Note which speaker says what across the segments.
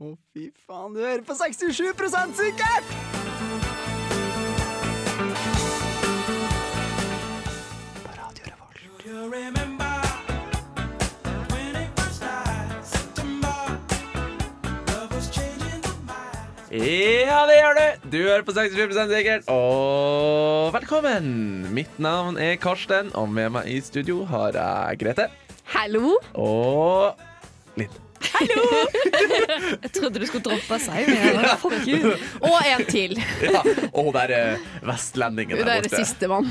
Speaker 1: Å, fy faen, du hører på 67 sikkert! På Radio Revolt.
Speaker 2: Ja, det gjør du! Du hører på 67 sikkert. Og velkommen! Mitt navn er Karsten, og med meg i studio har jeg Grete
Speaker 3: Hallo?
Speaker 2: og Linn.
Speaker 3: Jeg trodde du skulle droppe seg. men jeg bare, Fuck you. Og en til.
Speaker 2: Ja, og hun der eh, vestlendingen
Speaker 3: Hun
Speaker 2: der
Speaker 3: er
Speaker 2: borte.
Speaker 3: sistemann.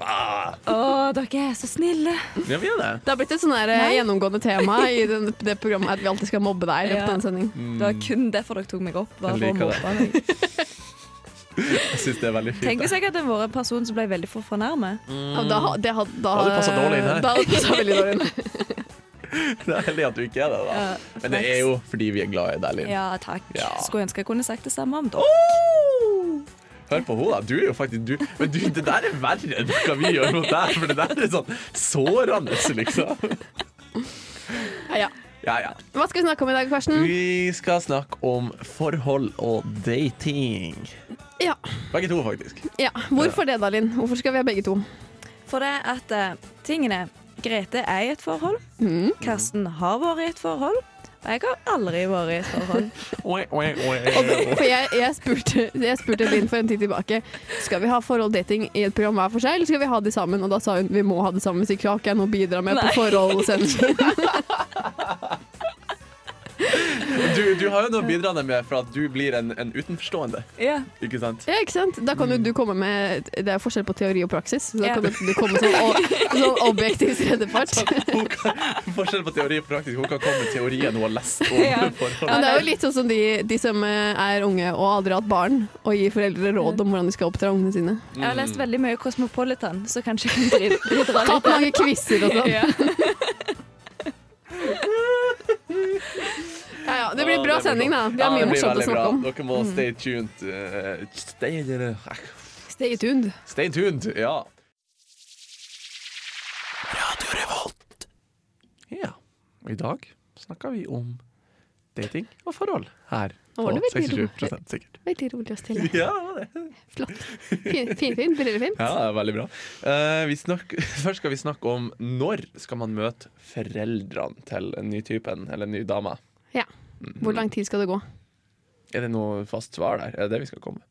Speaker 2: Ah,
Speaker 3: Å, dere er så snille.
Speaker 2: ja, vi er det.
Speaker 3: Det har blitt et sånn her, eh, gjennomgående tema i den, det programmet at vi alltid skal mobbe deg. i løpet av en sending.
Speaker 4: Det var kun derfor dere tok meg opp. Bare
Speaker 2: Jeg
Speaker 4: for å
Speaker 2: liker det.
Speaker 4: mobbe meg.
Speaker 2: Jeg syns det er veldig fint.
Speaker 4: Tenk
Speaker 2: det.
Speaker 4: hvis jeg hadde vært en person som ble veldig for fornærmet.
Speaker 2: Mm.
Speaker 3: Ja, Da, ha- det, ha- da,
Speaker 2: Ja, det passer dårlig inn her.
Speaker 3: Da, hadde det passet veldig dårlig inn.
Speaker 2: Det er heldig at du ikke er det, da.
Speaker 4: Ja,
Speaker 2: Men det er jo fordi vi er glad i deg, Linn.
Speaker 4: Ja, takk.
Speaker 2: Ja.
Speaker 4: Skulle ønske jeg kunne sagt det samme om dere.
Speaker 2: Hør på henne, da. Du er jo faktisk du. Men du, det der er verre enn hva vi gjør mot deg. For det der er sånn sårende, liksom.
Speaker 3: Ja, ja.
Speaker 2: Ja, ja.
Speaker 3: Hva skal vi snakke om i dag, Karsten?
Speaker 2: Vi skal snakke om forhold og dating.
Speaker 3: Ja,
Speaker 2: Begge to, faktisk.
Speaker 3: ja. Hvorfor det, da, Linn? Hvorfor skal vi ha begge to?
Speaker 4: For det at eh, tingene Grete er i et forhold.
Speaker 3: Mhm.
Speaker 4: Karsten har vært i et forhold. Og jeg har aldri vært i et forhold.
Speaker 3: For jeg, jeg, spurte, jeg spurte Linn for en tid tilbake Skal vi ha forhold og dating i et program hver for seg, eller skal vi ha de sammen? Og da sa hun vi må ha det sammen, så jeg klarer ikke jeg nå å bidra med på
Speaker 4: Nei.
Speaker 3: forholdssendingen.
Speaker 2: Du, du har jo noe å bidra med for at du blir en, en utenforstående,
Speaker 4: Ja.
Speaker 2: ikke sant?
Speaker 3: Ja, ikke sant? Da kan jo du komme med Det er forskjell på teori og praksis. Så da
Speaker 4: Ja.
Speaker 3: kan du, du komme som o- sånn objektiv tredjepart.
Speaker 2: Hun kan, forskjell på teori og praktisk. Hun kan komme med teorien hun har lest om
Speaker 4: Ja.
Speaker 2: forhold.
Speaker 3: Men det er jo litt sånn som de, de som eh, er unge og aldri har hatt barn, og gir foreldre råd om hvordan de skal oppdra ungene sine.
Speaker 4: Jeg har lest veldig mye Cosmopolitan, så kanskje jeg kan dri- bidra
Speaker 3: Tatt
Speaker 4: litt.
Speaker 3: mange quizer og sånn.
Speaker 4: Ja.
Speaker 3: Ja, ja, det blir bra sending, da. Vi har
Speaker 2: Ja,
Speaker 3: mye
Speaker 2: det blir
Speaker 3: morsomt å
Speaker 2: veldig
Speaker 3: snakke
Speaker 2: bra.
Speaker 3: om. Mm.
Speaker 2: Dere må stay tuned. eh, stay,
Speaker 3: Stay tuned.
Speaker 2: Stay tuned, ja. Radio Revolt. Ja. I dag snakker vi om dating og forhold her
Speaker 3: Nå var
Speaker 2: på
Speaker 3: det veldig
Speaker 2: 67 sikkert.
Speaker 3: Veldig rolig og stille.
Speaker 2: Ja, det var det.
Speaker 3: Flott. Fin- Finfin. Brillefin.
Speaker 2: Ja, det er veldig bra. Eh, vi snakk- først skal vi snakke om når skal man møte foreldrene til en ny typen eller en ny dame.
Speaker 3: Ja. Hvor lang tid skal det gå?
Speaker 2: Er det noe fast svar der? Er det det vi skal komme med?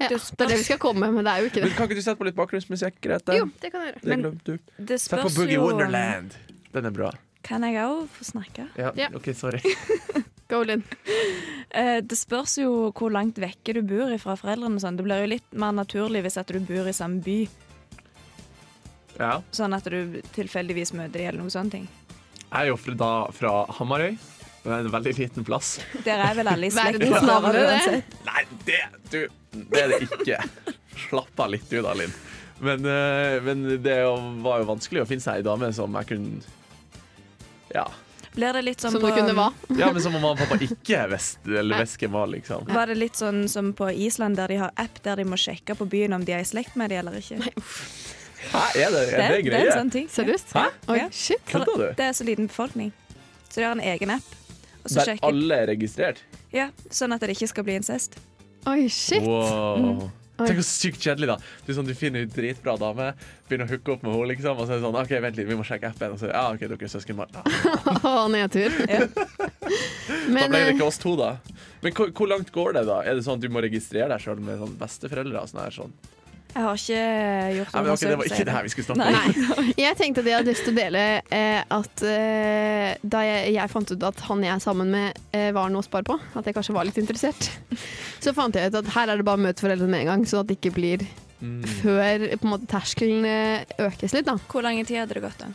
Speaker 3: Ja, det er det vi skal komme med, men det er jo ikke
Speaker 2: Men
Speaker 3: det.
Speaker 2: Kan ikke du sette på litt bakgrunnsmusikk, Grete?
Speaker 3: Jo, det kan jeg gjøre.
Speaker 2: Det
Speaker 4: Men-
Speaker 2: glemte du.
Speaker 4: Det
Speaker 2: Sett på
Speaker 4: spørs
Speaker 2: Boogie
Speaker 3: eh,
Speaker 4: jo
Speaker 2: Wonderland. Den er bra.
Speaker 4: Kan jeg òg få snakke?
Speaker 3: Ja.
Speaker 2: OK, sorry.
Speaker 3: Go, Linn.
Speaker 4: Eh, det spørs jo hvor langt vekke du bor fra foreldrene. og Sånn. Det blir jo litt mer naturlig hvis at du bor i samme by,
Speaker 2: Ja.
Speaker 4: sånn at du tilfeldigvis møter dem eller noen sånne ting.
Speaker 2: Jeg er jo fra- da fra Hamarøy. Det er en veldig liten plass.
Speaker 4: Der er vel alle i slekt.
Speaker 3: Verdens
Speaker 4: fra
Speaker 3: navle, det.
Speaker 4: hverandre uansett.
Speaker 2: Nei, det du, Det er det ikke. Slapp av litt, du da, Linn. Men, eh, men det jo- var jo vanskelig å finne seg ei dame som jeg kunne Ja.
Speaker 4: Blir det litt sånn
Speaker 3: Som du
Speaker 4: på-
Speaker 3: kunne hva?
Speaker 2: ja men som mamma og pappa ikke visste eller
Speaker 3: Nei.
Speaker 2: hvisket var, liksom.
Speaker 4: Var det litt sånn som på Island, der de har app der de må sjekke på byen om de er i slekt med de eller ikke?
Speaker 2: Hæ, er det, er det
Speaker 4: det er en
Speaker 2: greie?
Speaker 4: sånn ting.
Speaker 3: Seriøst?
Speaker 2: Hæ?
Speaker 3: Oi,
Speaker 4: Ja.
Speaker 3: shit.
Speaker 4: For
Speaker 2: Kødder du?
Speaker 4: Det er så liten befolkning. Så de har en egen app. Og så
Speaker 2: Der
Speaker 4: sjekker,
Speaker 2: alle er registrert?
Speaker 4: ja, sånn at det ikke skal bli incest.
Speaker 3: Oi, shit.
Speaker 2: Wow.
Speaker 3: Oi.
Speaker 2: Tenk hvor sykt kjedelig, da. Du, er sånn, du finner en dritbra dame, begynner å hooke opp med henne, liksom, og så er det sånn OK, vent litt, vi må sjekke appen. Og så ja, OK, dere er søskenbarn. Ja.
Speaker 3: Å, nedtur.
Speaker 4: Ja.
Speaker 3: Men, eh,
Speaker 2: Da ble det ikke oss to, da. Men hvor, hvor langt går det, da? Er det sånn at du må registrere deg sjøl med sånn besteforeldre? og Sånn her, sånn?
Speaker 4: Jeg har ikke gjort
Speaker 2: Nei, men ok, Det var ikke det her vi skulle snakke om.
Speaker 3: Nei. Jeg tenkte at jeg hadde lyst til å dele eh, at eh, da jeg, jeg fant ut at han jeg er sammen med, eh, var noe å spare på, at jeg kanskje var litt interessert, så fant jeg ut at her er det bare å møte foreldrene med en gang, sånn at det ikke blir
Speaker 2: Mm.
Speaker 3: før på en måte, terskelen eh, økes litt. Da.
Speaker 4: Hvor lang tid hadde det gått, da?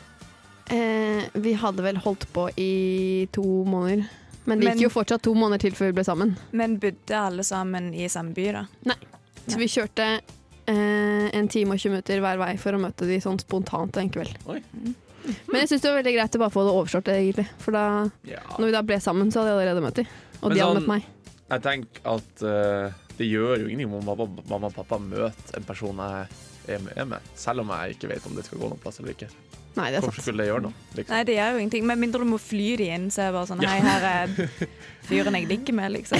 Speaker 3: Eh, vi hadde vel holdt på i to måneder, men det
Speaker 4: Men-
Speaker 3: gikk jo fortsatt to måneder til før vi ble sammen.
Speaker 4: Men bodde alle sammen i samme by, da?
Speaker 3: Så vi kjørte eh, en time og 20 minutter hver vei for å møte de sånn spontant en kveld.
Speaker 2: Oi.
Speaker 3: Men jeg syns det var veldig greit å bare få det overstått, egentlig. For da
Speaker 2: Ja.
Speaker 3: når vi da ble sammen, så hadde jeg allerede møtt dem. Og
Speaker 2: Men
Speaker 3: de hadde
Speaker 2: sånn-
Speaker 3: møtt meg.
Speaker 2: Jeg tenker at eh, det gjør jo ingenting om mamma, mamma og pappa møter en person jeg er med- er med, selv om jeg ikke vet om det skal gå noen plass eller ikke.
Speaker 3: Nei, det er
Speaker 2: Hvorfor
Speaker 3: sant.
Speaker 2: skulle det gjøre noe? Liksom?
Speaker 4: Nei, det gjør jo ingenting. Med mindre du må fly de inn, så er jeg bare sånn Hei, her er fyren jeg ligger med, liksom.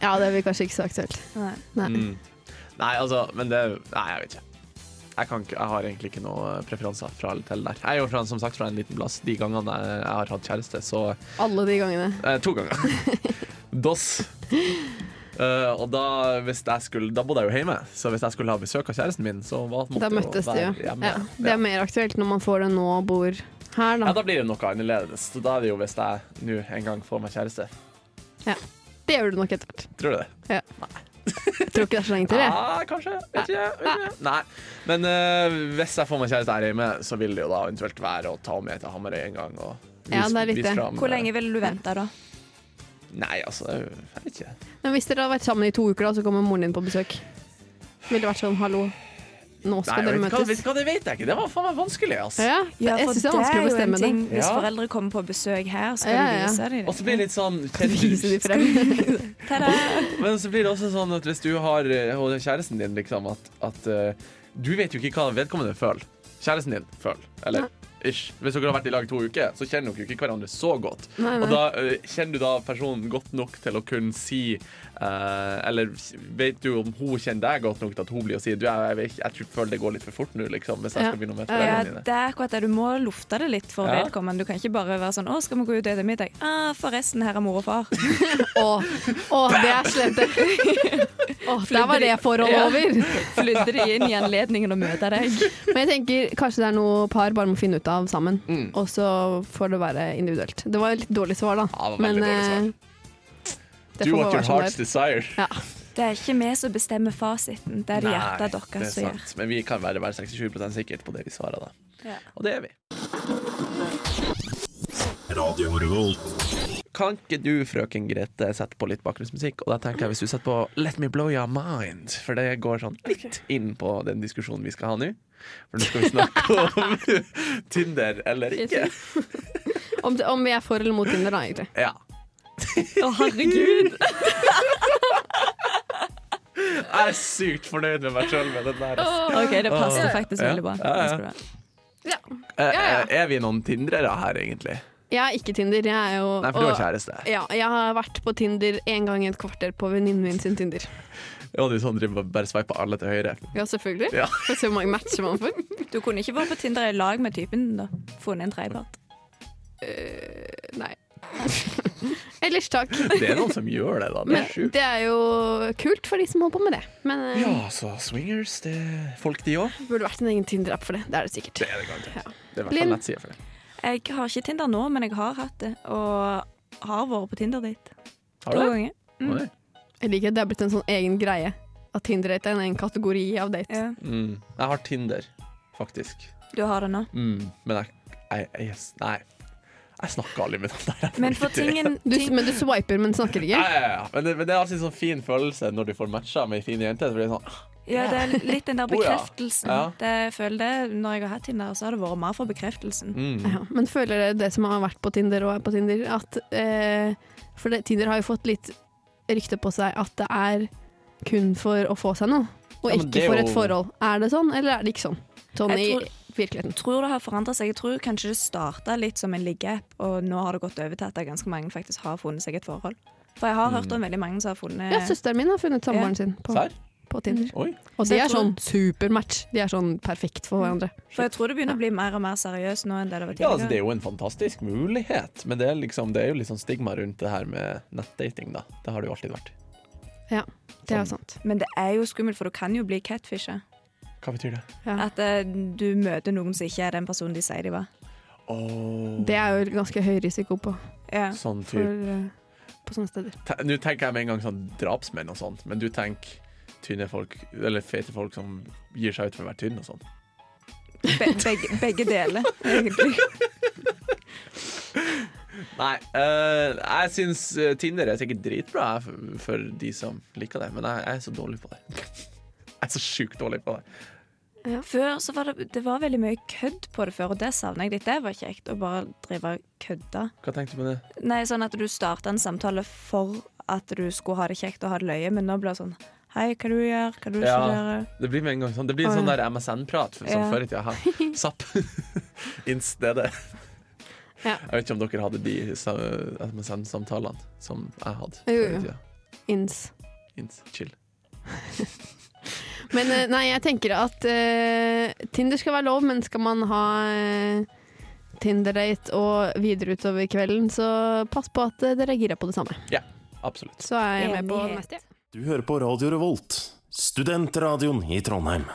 Speaker 3: Ja, det blir kanskje ikke så aktuelt.
Speaker 4: Nei.
Speaker 3: Nei.
Speaker 2: Mm. Nei, altså, men det Nei, jeg vet ikke. Jeg, kan ikke, jeg har egentlig ikke noen preferanser fra eller til der. Jeg er jo fra, som sagt fra en liten plass. De gangene jeg, jeg har hatt kjæreste, så
Speaker 3: Alle de gangene.
Speaker 2: eh, To ganger. Dos. Eh, og da, hvis jeg skulle, da bodde jeg jo hjemme, så hvis jeg skulle ha besøk av kjæresten min, så var, måtte
Speaker 3: Da
Speaker 2: jeg jo
Speaker 3: møttes de,
Speaker 2: være
Speaker 3: jo.
Speaker 2: hjemme.
Speaker 3: Ja. Det
Speaker 2: Ja.
Speaker 3: er mer aktuelt når man får det nå og bor
Speaker 2: Ja,
Speaker 3: her, da.
Speaker 2: da blir det noe annerledes. Så Da er det jo hvis jeg nå en gang får meg kjæreste.
Speaker 3: Det gjør du nok etter hvert.
Speaker 2: Tror du det?
Speaker 3: Jeg tror ikke det er så lenge til, jeg.
Speaker 2: Ja, kanskje. Vet ikke. Vet ikke. Nei. Men eh, hvis jeg får meg kjæreste her hjemme, så vil det jo da eventuelt være å ta henne med til Hamarøy en gang. Og
Speaker 3: Ja, det er litt det.
Speaker 2: fram, eh,
Speaker 4: Hvor lenge ville du vente, da?
Speaker 2: Nei, altså, det er jo- jeg vet ikke.
Speaker 3: Men hvis dere hadde vært sammen i to uker, da, så kommer moren din på besøk. Ville det vært sånn 'hallo, nå
Speaker 2: Nei,
Speaker 3: skal dere
Speaker 2: vet, du hva,
Speaker 3: møtes'?
Speaker 2: vet du hva, det vet jeg ikke. Det var faen meg vanskelig, altså.
Speaker 3: Ja, ja. Jeg syns det er vanskelig å bestemme det.
Speaker 4: Hvis
Speaker 2: Ja.
Speaker 4: foreldre kommer på besøk her, skal
Speaker 3: Ja,
Speaker 4: du
Speaker 3: ja.
Speaker 4: vise dem
Speaker 2: Og så blir det litt sånn
Speaker 3: Vise de
Speaker 2: kjendis.
Speaker 3: frem.
Speaker 4: Ta-da!
Speaker 2: Men så blir det også sånn at hvis du har eh, og kjæresten din, liksom, at, at eh, du vet jo ikke hva vedkommende føler. Kjæresten din føler. Eller ish. Hvis dere har vært i lag to uker, så kjenner dere jo ikke hverandre så godt.
Speaker 3: Nei,
Speaker 2: Og
Speaker 3: nei.
Speaker 2: da ø, Kjenner du da personen godt nok til å kunne si eh, Eller vet du om hun kjenner deg godt nok til at hun blir å si du, jeg, jeg, vet ikke, jeg tror- føler det går litt for fort nå, liksom, hvis jeg
Speaker 3: Ja.
Speaker 2: skal begynne å møte
Speaker 4: Ja,
Speaker 2: vennene dine.
Speaker 4: det er akkurat det. Du må lufte det litt for
Speaker 2: Ja.
Speaker 4: vedkommende. Du kan ikke bare være sånn 'Å, skal vi gå ut og spise middag?' Ah, 'Forresten, her er mor og far'.
Speaker 3: Å, å, det er slemt. Å, der var det forholdet
Speaker 4: Ja.
Speaker 3: over.
Speaker 4: Flytte de inn i anledningen å møte deg.
Speaker 3: Men jeg tenker kanskje det er noe par bare må finne ut av sammen.
Speaker 2: Mm.
Speaker 3: Og så får det være individuelt. Det var et litt dårlig svar, da.
Speaker 2: Ja, det var veldig dårlig
Speaker 3: svar. Det
Speaker 2: Do
Speaker 3: får
Speaker 2: what
Speaker 3: bare
Speaker 2: your
Speaker 3: være sånn
Speaker 2: heart's
Speaker 3: der.
Speaker 2: desire.
Speaker 3: Ja.
Speaker 4: Det er ikke vi som bestemmer fasiten, det er det
Speaker 2: Nei,
Speaker 4: hjertet
Speaker 2: det er
Speaker 4: deres som gjør.
Speaker 2: sant. Men vi kan være, være 67 sikkert på det vi svarer, da.
Speaker 4: Ja.
Speaker 2: Og det er vi.
Speaker 5: Radio Revolt.
Speaker 2: Kan ikke du, frøken Grete, sette på litt bakgrunnsmusikk? Og da tenker jeg hvis du setter på Let me blow your mind, for det går sånn litt inn på den diskusjonen vi skal ha nå. For nå skal vi snakke om Tinder eller ikke.
Speaker 3: Om, om vi er for eller mot Tinder, da, egentlig.
Speaker 2: Ja.
Speaker 4: Å, herregud!
Speaker 2: Jeg er sykt fornøyd med meg sjøl med den der. ass.
Speaker 4: OK, det passer
Speaker 2: Åh.
Speaker 4: faktisk
Speaker 2: Ja.
Speaker 4: veldig bra.
Speaker 2: Ja, ja.
Speaker 4: Det skal du ha.
Speaker 3: Ja.
Speaker 2: Eh,
Speaker 3: ja.
Speaker 2: eh, Er vi noen tindrere her, egentlig?
Speaker 3: Jeg er ikke Tinder. Jeg er jo
Speaker 2: Nei, for du har
Speaker 3: og-
Speaker 2: kjæreste.
Speaker 3: Ja, jeg har vært på Tinder én gang i et kvarter på venninnen min sin Tinder.
Speaker 2: Og du sånn driver og bare sveiper alle til høyre.
Speaker 3: Ja, selvfølgelig.
Speaker 2: Ja.
Speaker 3: Får se hvor mange matcher man får.
Speaker 4: Du kunne ikke vært på Tinder i lag med typen din, da? Funnet en tredjepart?
Speaker 3: Nei. Ellers takk.
Speaker 2: Det er noen som gjør det, da. Det
Speaker 3: Men
Speaker 2: er sjukt.
Speaker 3: det er jo kult for de som holder på med det. Men eh,
Speaker 2: Ja, så swingers, det er folk de òg.
Speaker 3: det burde vært en egen Tinder-app for det. Det er det sikkert.
Speaker 2: er det garantert. Det er i
Speaker 3: hvert fall Linn.
Speaker 2: nettside for det.
Speaker 4: Jeg har ikke Tinder nå, men jeg har hatt det. Og har vært på Tinder-date
Speaker 2: Har
Speaker 4: to
Speaker 2: du det?
Speaker 4: ganger.
Speaker 2: Oi.
Speaker 3: Jeg liker at det har blitt en sånn egen greie. At Tinder-date er en egen kategori av date.
Speaker 4: Ja.
Speaker 2: Mm. Jeg har Tinder, faktisk.
Speaker 4: Du har det nå.
Speaker 2: Mm. Men jeg, jeg, jeg Nei. Jeg snakker aldri med den der. jeg får
Speaker 4: Men for
Speaker 2: ikke til.
Speaker 4: tingen
Speaker 3: Du, men du swiper, men snakker
Speaker 2: Ja,
Speaker 3: ikke?
Speaker 2: ja, ja. Men, det, men det er alltid en sånn fin følelse når du får matcha med ei fin jente. Så blir det sånn ah,
Speaker 4: Ja, det er litt den der
Speaker 2: Oh, ja.
Speaker 4: bekreftelsen.
Speaker 2: Ja.
Speaker 4: Det, jeg føler det, når jeg har hatt Tinder, så har det vært mer for bekreftelsen.
Speaker 2: mm.
Speaker 3: Ja, men føler dere det som har vært på Tinder og er på Tinder, at eh, For det, Tinder har jo fått litt rykte på seg at det er kun for å få seg noe, og
Speaker 2: Ja, men det
Speaker 3: ikke
Speaker 2: er
Speaker 3: for
Speaker 2: jo-
Speaker 3: et forhold. Er det sånn, eller er det ikke sånn? Sånn i
Speaker 4: Jeg
Speaker 3: virkeligheten.
Speaker 4: Tror det har forandret seg. Jeg tror kanskje det starta litt som en liggeapp, og nå har det gått over til at det er ganske mange faktisk har funnet seg et forhold. For jeg har
Speaker 2: Mm.
Speaker 4: hørt om veldig mange som har funnet
Speaker 3: Ja, søsteren min har funnet samboeren
Speaker 4: Ja.
Speaker 3: sin på,
Speaker 2: Serr?
Speaker 3: på Tinder.
Speaker 2: Oi.
Speaker 3: Og
Speaker 4: Så
Speaker 3: de
Speaker 4: jeg
Speaker 3: er
Speaker 4: tror-
Speaker 3: sånn supermatch. De er sånn perfekt for hverandre.
Speaker 4: For jeg tror det begynner å bli mer og mer seriøst nå enn det det var
Speaker 2: Ja, altså, det
Speaker 4: tidligere.
Speaker 2: er jo en fantastisk mulighet, men det er, liksom, det er jo litt sånn stigma rundt det her med nettdating. da Det har det jo alltid vært.
Speaker 3: Ja, det er jo sant.
Speaker 4: Men det er jo skummelt, for du kan jo bli catfisha.
Speaker 2: Hva betyr det?
Speaker 4: At eh, du møter noen som ikke er den personen de sier de var.
Speaker 2: Åh,
Speaker 3: Det er jo ganske høy risiko på,
Speaker 4: Ja.
Speaker 2: sånn
Speaker 3: for,
Speaker 2: type
Speaker 3: eh, på sånne steder.
Speaker 2: Te- Nå tenker jeg med en gang sånn drapsmenn og sånt, men du tenker tynne folk, eller fete folk som gir seg ut for å være tynn og sånn.
Speaker 4: Be begge, begge deler, egentlig.
Speaker 2: Nei, eh, jeg syns eh, Tinder er sikkert dritbra jeg, for, for de som liker det, men jeg, jeg er så dårlig på det. Jeg er så sjukt dårlig på det.
Speaker 4: Før så var det, det var veldig mye kødd på det før, og det savner jeg litt. Det var kjekt å bare drive og kødde.
Speaker 2: Hva tenkte du på det?
Speaker 4: Nei, sånn at du starta en samtale for at du skulle ha det kjekt og ha det løye, men nå blir det sånn Hei, hva du gjør, hva du ikke
Speaker 2: Ja.
Speaker 4: gjør.
Speaker 2: Det blir med en gang sånn Det blir
Speaker 4: Å,
Speaker 2: sånn
Speaker 4: ja.
Speaker 2: der MSN-prat som
Speaker 4: Ja.
Speaker 2: før i tida. her. Zapp. Instedet.
Speaker 3: Ja.
Speaker 2: Jeg vet ikke om dere hadde de sa- eh, MSN-samtalene som jeg hadde
Speaker 3: Jo,
Speaker 2: før
Speaker 3: jo.
Speaker 2: i tida.
Speaker 3: Ins.
Speaker 2: Ins, chill.
Speaker 3: Men eh, nei, jeg tenker at eh, Tinder skal være lov, men skal man ha eh, Tinder-date og videre utover kvelden, så pass på at eh, dere er gira på det samme.
Speaker 2: Absolutt.
Speaker 3: Så er jeg med på
Speaker 4: Enighet.
Speaker 3: neste.
Speaker 5: Du hører på Radio Revolt, studentradioen i Trondheim.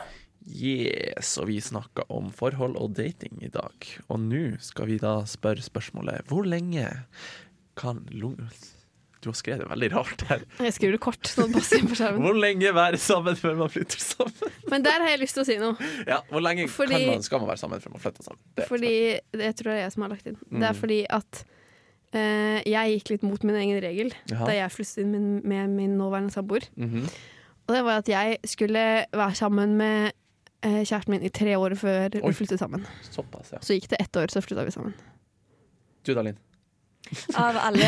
Speaker 2: Yes, og vi snakka om forhold og dating i dag. Og nå skal vi da spørre spørsmålet hvor lenge kan lung... Du har skrevet det veldig rart her.
Speaker 3: Jeg skriver det kort, sånn at det passer inn på skjermen.
Speaker 2: Hvor lenge være sammen før man flytter sammen?
Speaker 3: Men der har jeg lyst til å si noe.
Speaker 2: Ja, hvor lenge
Speaker 3: Fordi-
Speaker 2: kan man, skal man være sammen før man flytter sammen? Det er Mm.
Speaker 3: Fordi jeg tror det er jeg som har lagt inn. Det er fordi at eh, jeg gikk litt mot min egen regel
Speaker 2: Jaha.
Speaker 3: da jeg flyttet inn min, med min nåværende samboer.
Speaker 2: Mhm.
Speaker 3: Og det var at jeg skulle være sammen med eh, kjæresten min i tre år før
Speaker 2: Oi.
Speaker 3: vi flyttet sammen.
Speaker 2: Såpass, ja.
Speaker 3: Så gikk det ett år, så flytta vi sammen.
Speaker 2: Du da, Linn?
Speaker 4: Av alle,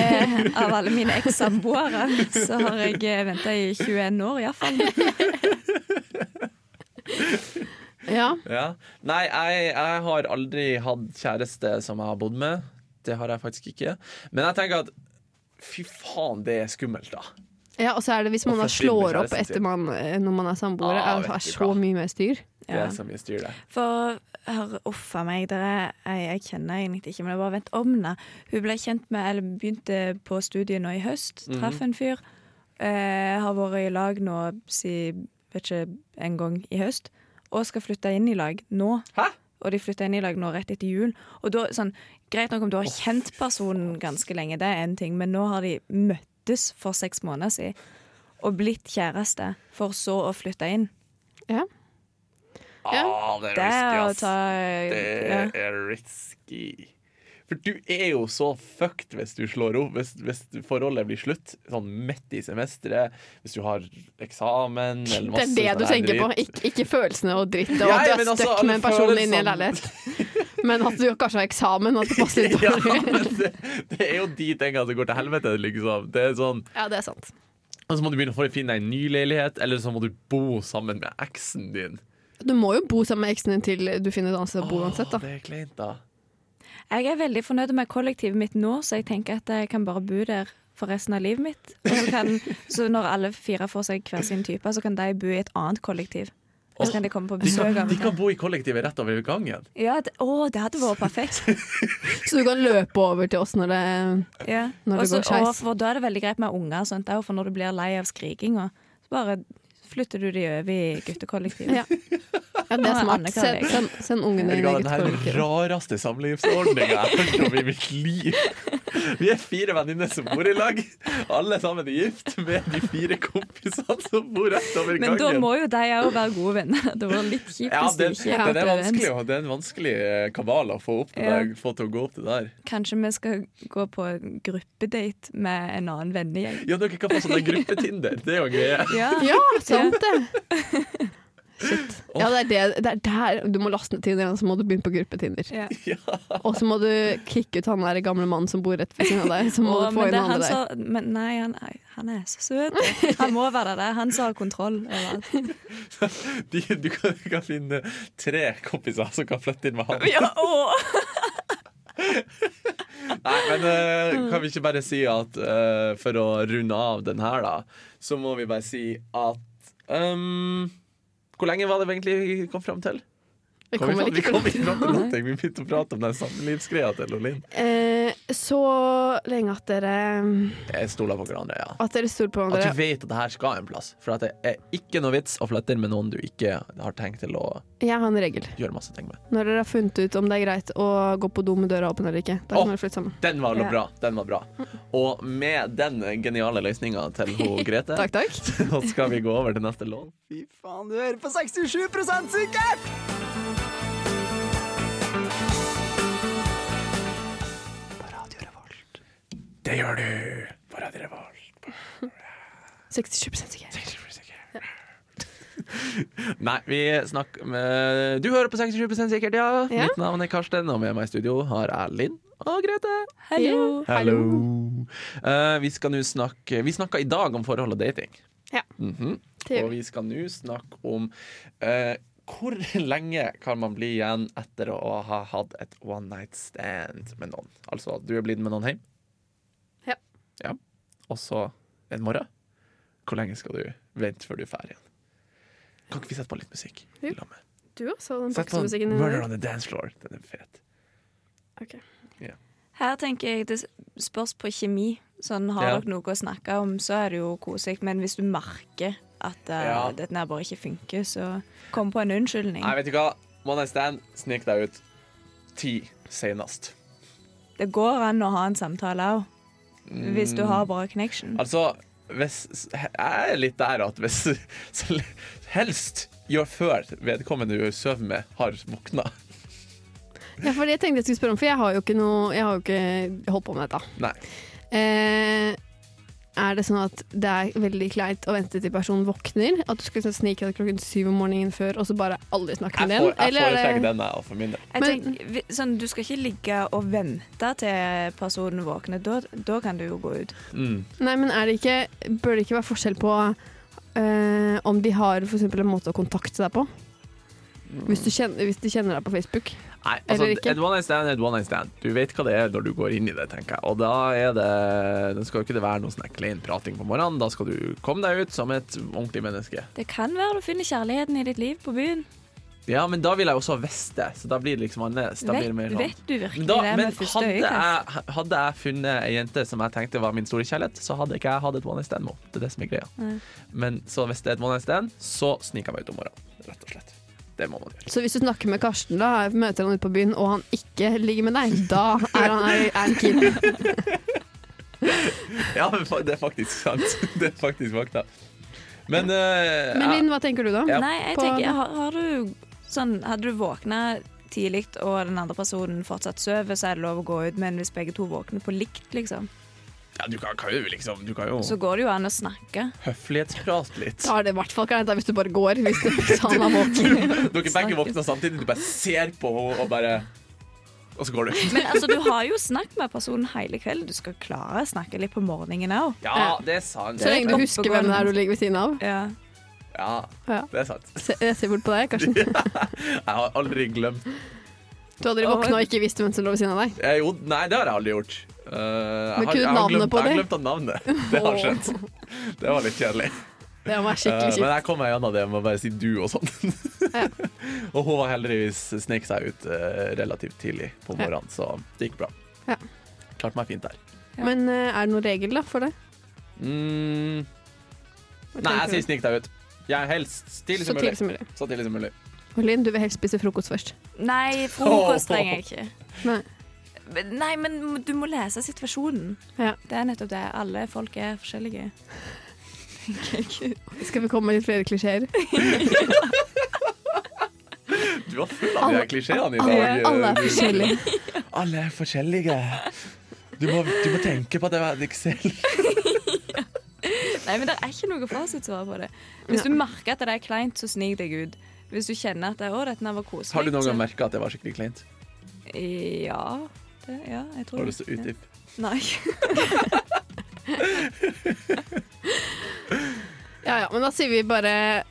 Speaker 4: av alle mine ekssamboere så har jeg venta i 21 år iallfall.
Speaker 3: Ja,
Speaker 2: Ja. Nei, jeg, jeg har aldri hatt kjæreste som jeg har bodd med. Det har jeg faktisk ikke. Men jeg tenker at fy faen, det er skummelt, da.
Speaker 3: Ja, og så er det hvis man
Speaker 2: Og
Speaker 3: da
Speaker 2: flytte inn med
Speaker 3: slår opp
Speaker 2: kjæresten
Speaker 3: etter man, eh, når man er samboere,
Speaker 2: Ah,
Speaker 3: er det
Speaker 2: vet
Speaker 3: er
Speaker 2: du
Speaker 3: så
Speaker 2: hva.
Speaker 3: mye mer styr.
Speaker 2: Det
Speaker 4: Ja.
Speaker 2: er så mye styr der.
Speaker 4: For hør, uff a meg, dere, jeg, jeg kjenner egentlig ikke, men jeg bare vet om henne. Hun ble kjent med, eller begynte på studiet nå i høst,
Speaker 2: Mhm.
Speaker 4: traff en fyr. Eh, har vært i lag nå siden, vet ikke, en gang i høst. Og skal flytte inn i lag nå.
Speaker 2: Hæ?
Speaker 4: Og de flytta inn i lag nå rett etter jul. Og da, sånn, Greit nok om du har kjent personen ganske lenge, det er én ting, men nå har de møttes for seks måneder siden. Og blitt kjæreste, for så å flytte inn.
Speaker 3: Ja. Ja.
Speaker 2: Ah, det
Speaker 4: Det er å
Speaker 2: er risky,
Speaker 4: ta
Speaker 2: ass.
Speaker 4: ja.
Speaker 2: Det er risky. For du er jo så fucked hvis du slår opp, hvis, hvis forholdet blir slutt sånn midt i semesteret, hvis du har eksamen eller
Speaker 3: Det
Speaker 2: masse
Speaker 3: er
Speaker 2: sånn
Speaker 3: det du
Speaker 2: her
Speaker 3: tenker på,
Speaker 2: dritt.
Speaker 3: ikke, ikke følelsene og dritt og
Speaker 2: Ja,
Speaker 3: at du
Speaker 2: men
Speaker 3: er
Speaker 2: altså,
Speaker 3: stuck
Speaker 2: alle
Speaker 3: med en person
Speaker 2: følelsene-
Speaker 3: inne i en leilighet. Men at du kanskje har eksamen og at det passer litt
Speaker 2: Ja,
Speaker 3: dårlig.
Speaker 2: men det, det er jo de tingene som går til helvete, liksom. Det er sånn
Speaker 3: Ja, det er sant.
Speaker 2: Og så må du begynne å finne deg en ny leilighet, eller så må du bo sammen med eksen din.
Speaker 3: Du må jo bo sammen med eksen din til du finner et annet sted å bo uansett,
Speaker 2: Åh,
Speaker 3: da.
Speaker 2: det er kleint, da.
Speaker 4: Jeg er veldig fornøyd med kollektivet mitt nå, så jeg tenker at jeg kan bare bo der for resten av livet mitt. Og så, kan, så når alle fire får seg hver sin type, så kan de bo i et annet kollektiv. Og så kan de komme på
Speaker 2: De
Speaker 4: besøk.
Speaker 2: kan,
Speaker 4: av
Speaker 2: de kan
Speaker 4: hverandre.
Speaker 2: bo i kollektivet rett over gangen.
Speaker 4: Ja, det, å, det hadde vært perfekt.
Speaker 3: Så du kan løpe over til oss når det
Speaker 4: Ja.
Speaker 3: Når det
Speaker 4: Også,
Speaker 3: går skeis.
Speaker 4: og for da er det veldig greit med unger, og sånt, også, for når du blir lei av skrikinga, så bare flytter du de over i guttekollektivet.
Speaker 3: Ja, ja det
Speaker 4: Nå
Speaker 3: er
Speaker 4: er
Speaker 3: smart.
Speaker 4: Anne klar,
Speaker 3: Send,
Speaker 4: jeg.
Speaker 3: send, send ungen
Speaker 2: Vet
Speaker 3: din
Speaker 2: du hva,
Speaker 3: eget
Speaker 2: den her er den
Speaker 3: forhold.
Speaker 2: rareste samlivsordninga jeg har hørt om i mitt liv. Vi er fire venninner som bor i lag. Alle sammen er gift med de fire kompisene som bor rett over gangen.
Speaker 4: Men da må jo de òg være gode venner. Det var litt kjipt
Speaker 2: ja,
Speaker 4: hvis de
Speaker 2: den,
Speaker 4: ikke
Speaker 2: den
Speaker 4: hadde
Speaker 2: er vanskelig,
Speaker 4: venner.
Speaker 2: å- det er en vanskelig eh, kabal å få, opp til
Speaker 4: Ja.
Speaker 2: der, få til å gå opp til der.
Speaker 4: Kanskje vi skal gå på gruppedate med en annen vennegjeng.
Speaker 2: Ja, dere kan få sånn der gruppetinder. Det er jo en greie.
Speaker 4: Ja.
Speaker 3: Ja, sant det. Shit. Ja, det er det. Det er der du må laste ned Tinder, og så må du begynne på gruppe-Tinder.
Speaker 4: Ja.
Speaker 3: Og så må du kicke ut han der gamle mannen som bor rett ved siden av deg. Så må
Speaker 4: Å,
Speaker 3: du få
Speaker 4: men
Speaker 3: inn
Speaker 4: det er
Speaker 3: han
Speaker 4: han
Speaker 3: andre der.
Speaker 4: som- men nei, han, er- han er så søt. Han må være det. Han som har kontroll over alt.
Speaker 2: De, du, kan, du kan finne tre kompiser som kan flytte inn med han.
Speaker 4: Ja, å.
Speaker 2: Nei, men eh, kan vi ikke bare si at eh, for å runde av den her, da, så må vi bare si at ehm, Hvor lenge var det vi egentlig vi kom fram til?
Speaker 3: Vi
Speaker 2: Kom vi,
Speaker 3: kommer
Speaker 2: fram- vi
Speaker 3: ikke
Speaker 2: kom ikke fram til noe. Vi begynte å prate om den samlivsgreia til Lolin.
Speaker 3: Eh, Så lenge at dere
Speaker 2: Jeg stoler på hverandre, ja.
Speaker 3: At dere stoler på
Speaker 2: At du
Speaker 3: hverandre.
Speaker 2: vet at det her skal en plass. For at det er ikke noe vits å flytte inn med noen du ikke har tenkt til å
Speaker 3: Jeg har en regel.
Speaker 2: gjøre masse ting med.
Speaker 3: Når dere har funnet ut om det er greit å gå på do med døra åpen eller ikke, da
Speaker 2: Å.
Speaker 3: kan dere flytte sammen.
Speaker 2: Den var
Speaker 4: Ja.
Speaker 2: bra. Den var bra. Og med den geniale løsninga til hun Grete,
Speaker 3: Takk, takk.
Speaker 2: så skal vi gå over til neste låt.
Speaker 1: Fy faen, du hører på 67 sikkert! På Radio Revolt.
Speaker 2: Det gjør du! På Radio Revolt.
Speaker 3: 67 sikker.
Speaker 2: Nei, vi snakker med Du hører på 67 sikkert, ja.
Speaker 3: Ja.
Speaker 2: Mitt navn er Karsten, og med meg i studio har jeg Linn og Grete.
Speaker 4: Hallo.
Speaker 2: Hallo. Eh, vi skal nå snakke Vi snakka i dag om forhold og dating.
Speaker 3: Ja.
Speaker 2: Mhm.
Speaker 3: Det gjør
Speaker 2: Og vi skal nå snakke om eh, hvor lenge kan man bli igjen etter å ha hatt et one night stand med noen. Altså, du er blitt med noen hjem.
Speaker 3: Ja.
Speaker 2: ja. Og så en morgen. Hvor lenge skal du vente før du er ferdig igjen? Kan ikke vi sette på litt musikk?
Speaker 3: Jo.
Speaker 2: La meg.
Speaker 3: Du også, den
Speaker 2: Sett på
Speaker 3: boksmusikken
Speaker 2: Murder on the Dance Floor. Den er fet.
Speaker 4: Her tenker jeg det spørs på kjemi. Sånn, Har
Speaker 2: Ja.
Speaker 4: dere noe å snakke om, så er det jo koselig. Men hvis du merker at uh,
Speaker 2: Ja.
Speaker 4: dette her bare ikke funker, så kom på en unnskyldning.
Speaker 2: Nei, vet du hva? One night stand, snik deg ut. Ti senest.
Speaker 4: Det går an å ha en samtale òg, hvis
Speaker 2: Mm.
Speaker 4: du har bra connection.
Speaker 2: Altså, hvis, jeg er litt der at hvis så Helst gjør før vedkommende du sover med, har våkna.
Speaker 3: Ja, for det tenkte jeg skulle spørre om, for jeg har jo ikke, noe, jeg har jo ikke holdt på med dette.
Speaker 2: Nei.
Speaker 3: Eh, er det sånn at det er veldig kleint å vente til personen våkner? At du skal liksom snike deg klokken syv om morgenen før, og så bare aldri snakke
Speaker 2: Jeg,
Speaker 3: med
Speaker 2: får,
Speaker 3: den?
Speaker 2: jeg
Speaker 3: Eller er
Speaker 2: foretrekker
Speaker 3: det
Speaker 2: den jeg, for min del.
Speaker 4: Jeg
Speaker 3: men-
Speaker 4: tenker, vi- sånn, du skal ikke ligge og vente til personen våkner. Da, da kan du jo gå ut.
Speaker 2: Mm.
Speaker 3: Nei, men er det ikke Bør det ikke være forskjell på eh, om de har for eksempel en måte å kontakte deg på? Hvis, du kjenner, hvis de kjenner deg på Facebook.
Speaker 2: Nei, altså,
Speaker 3: Eller ikke.
Speaker 2: et one night stand er et one night stand. Du vet hva det er når du går inn i det, tenker jeg. Og da er det Det skal jo ikke det være noe sånn klein prating på morgenen. Da skal du komme deg ut som et ordentlig menneske.
Speaker 4: Det kan være du finner kjærligheten i ditt liv på byen.
Speaker 2: Ja, men da vil jeg også ha visst det, så da blir det liksom annerledes. Da blir
Speaker 4: Vet,
Speaker 2: det mer sånn
Speaker 4: vet du virkelig
Speaker 2: Men, da,
Speaker 4: det
Speaker 2: men
Speaker 4: med første
Speaker 2: hadde,
Speaker 4: øyekast?
Speaker 2: jeg, hadde jeg funnet ei jente som jeg tenkte var min store kjærlighet, så hadde ikke jeg hatt et one night stand med henne. Det er det som er greia.
Speaker 4: Nei.
Speaker 2: Men så hvis det er et one night stand, så sniker jeg meg ut om morgenen. Rett og slett. Det må man gjøre.
Speaker 3: Så hvis du snakker med Karsten, da møter han ute på byen, og han ikke ligger med deg, da er han, er, er han keen.
Speaker 2: Ja, men fa- det er faktisk sant. Det er faktisk fakta. Men, eh,
Speaker 3: Men
Speaker 2: jeg-
Speaker 3: Linn, hva tenker du da?
Speaker 2: Ja.
Speaker 4: Nei, jeg
Speaker 3: På-
Speaker 4: tenker, har, har du sånn, Hadde du våkna tidlig og den andre personen fortsatt sover, så er det lov å gå ut, men hvis begge to våkner på likt, liksom,
Speaker 2: ja, du kan, kan jo liksom Du kan jo
Speaker 4: så går det jo an å snakke.
Speaker 2: høflighetsprat litt.
Speaker 3: Da er det i hvert fall kleint da, hvis du bare går. Hvis det, hvis han er våken.
Speaker 2: Dere begge våkner samtidig, du bare ser på henne og bare Og så går du.
Speaker 4: Men altså, du har jo snakket med personen hele kvelden. Du skal klare å snakke litt på morgenen òg.
Speaker 2: Ja, det er sant.
Speaker 3: Så lenge du
Speaker 4: Oppegående.
Speaker 3: husker hvem det er du ligger ved siden av.
Speaker 4: Ja.
Speaker 2: Ja,
Speaker 3: Ja.
Speaker 2: det er sant.
Speaker 3: Se, jeg ser bort på deg, Karsten.
Speaker 2: Jeg har aldri glemt
Speaker 3: Du hadde våkna og ikke visst hvem som lå ved siden av deg.
Speaker 2: Eh, jo, nei, det har jeg aldri gjort. Eh, jeg, har,
Speaker 3: kunne
Speaker 2: jeg, har
Speaker 3: navnet
Speaker 2: glemt,
Speaker 3: på
Speaker 2: jeg har
Speaker 3: det?
Speaker 2: glemt av navnet. Det har skjedd. Det var litt kjedelig.
Speaker 3: Det var
Speaker 2: Eh,
Speaker 3: skikkelig
Speaker 2: men
Speaker 3: kjipt.
Speaker 2: jeg kom meg gjennom det med å bare si du og sånn. og hun var heldigvis snek seg ut eh, relativt tidlig på
Speaker 3: Ja.
Speaker 2: morgenen, så det gikk bra.
Speaker 3: Ja.
Speaker 2: Klarte meg fint der.
Speaker 4: Ja.
Speaker 3: Men eh, er det noen regel da, for det?
Speaker 2: Mm, nei,
Speaker 3: Hva tenker
Speaker 2: jeg
Speaker 3: du?
Speaker 2: sier snik deg ut. Jeg helst tidlig
Speaker 3: Så
Speaker 2: som
Speaker 3: tidlig
Speaker 2: mulig.
Speaker 3: som mulig.
Speaker 2: Så tidlig som mulig.
Speaker 3: Og Linn, du vil helst spise frokost først.
Speaker 4: Nei, frokost trenger jeg ikke.
Speaker 3: Nei.
Speaker 4: Men- Nei, men du må lese situasjonen.
Speaker 3: Ja.
Speaker 4: Det er nettopp det. Alle folk er forskjellige. Tenker jeg.
Speaker 3: Skal vi komme med litt flere klisjeer?
Speaker 2: Du var full av de her klisjeene i dag. eh,
Speaker 3: alle er
Speaker 2: du.
Speaker 3: forskjellige.
Speaker 2: Alle er forskjellige. Du må, du må tenke på at det var Excel.
Speaker 4: Nei, men det er ikke noe fasitsvar på det. Hvis du merker at det er kleint, så snik deg ut. Hvis du kjenner at det, å, dette her var koselig
Speaker 2: Har du noen
Speaker 4: så-
Speaker 2: gang merka at det var skikkelig kleint?
Speaker 4: Ja. Det, ja, jeg tror
Speaker 2: Har du
Speaker 4: det.
Speaker 2: lyst til å utdype?
Speaker 4: Nei.
Speaker 3: Ja ja, men da sier vi bare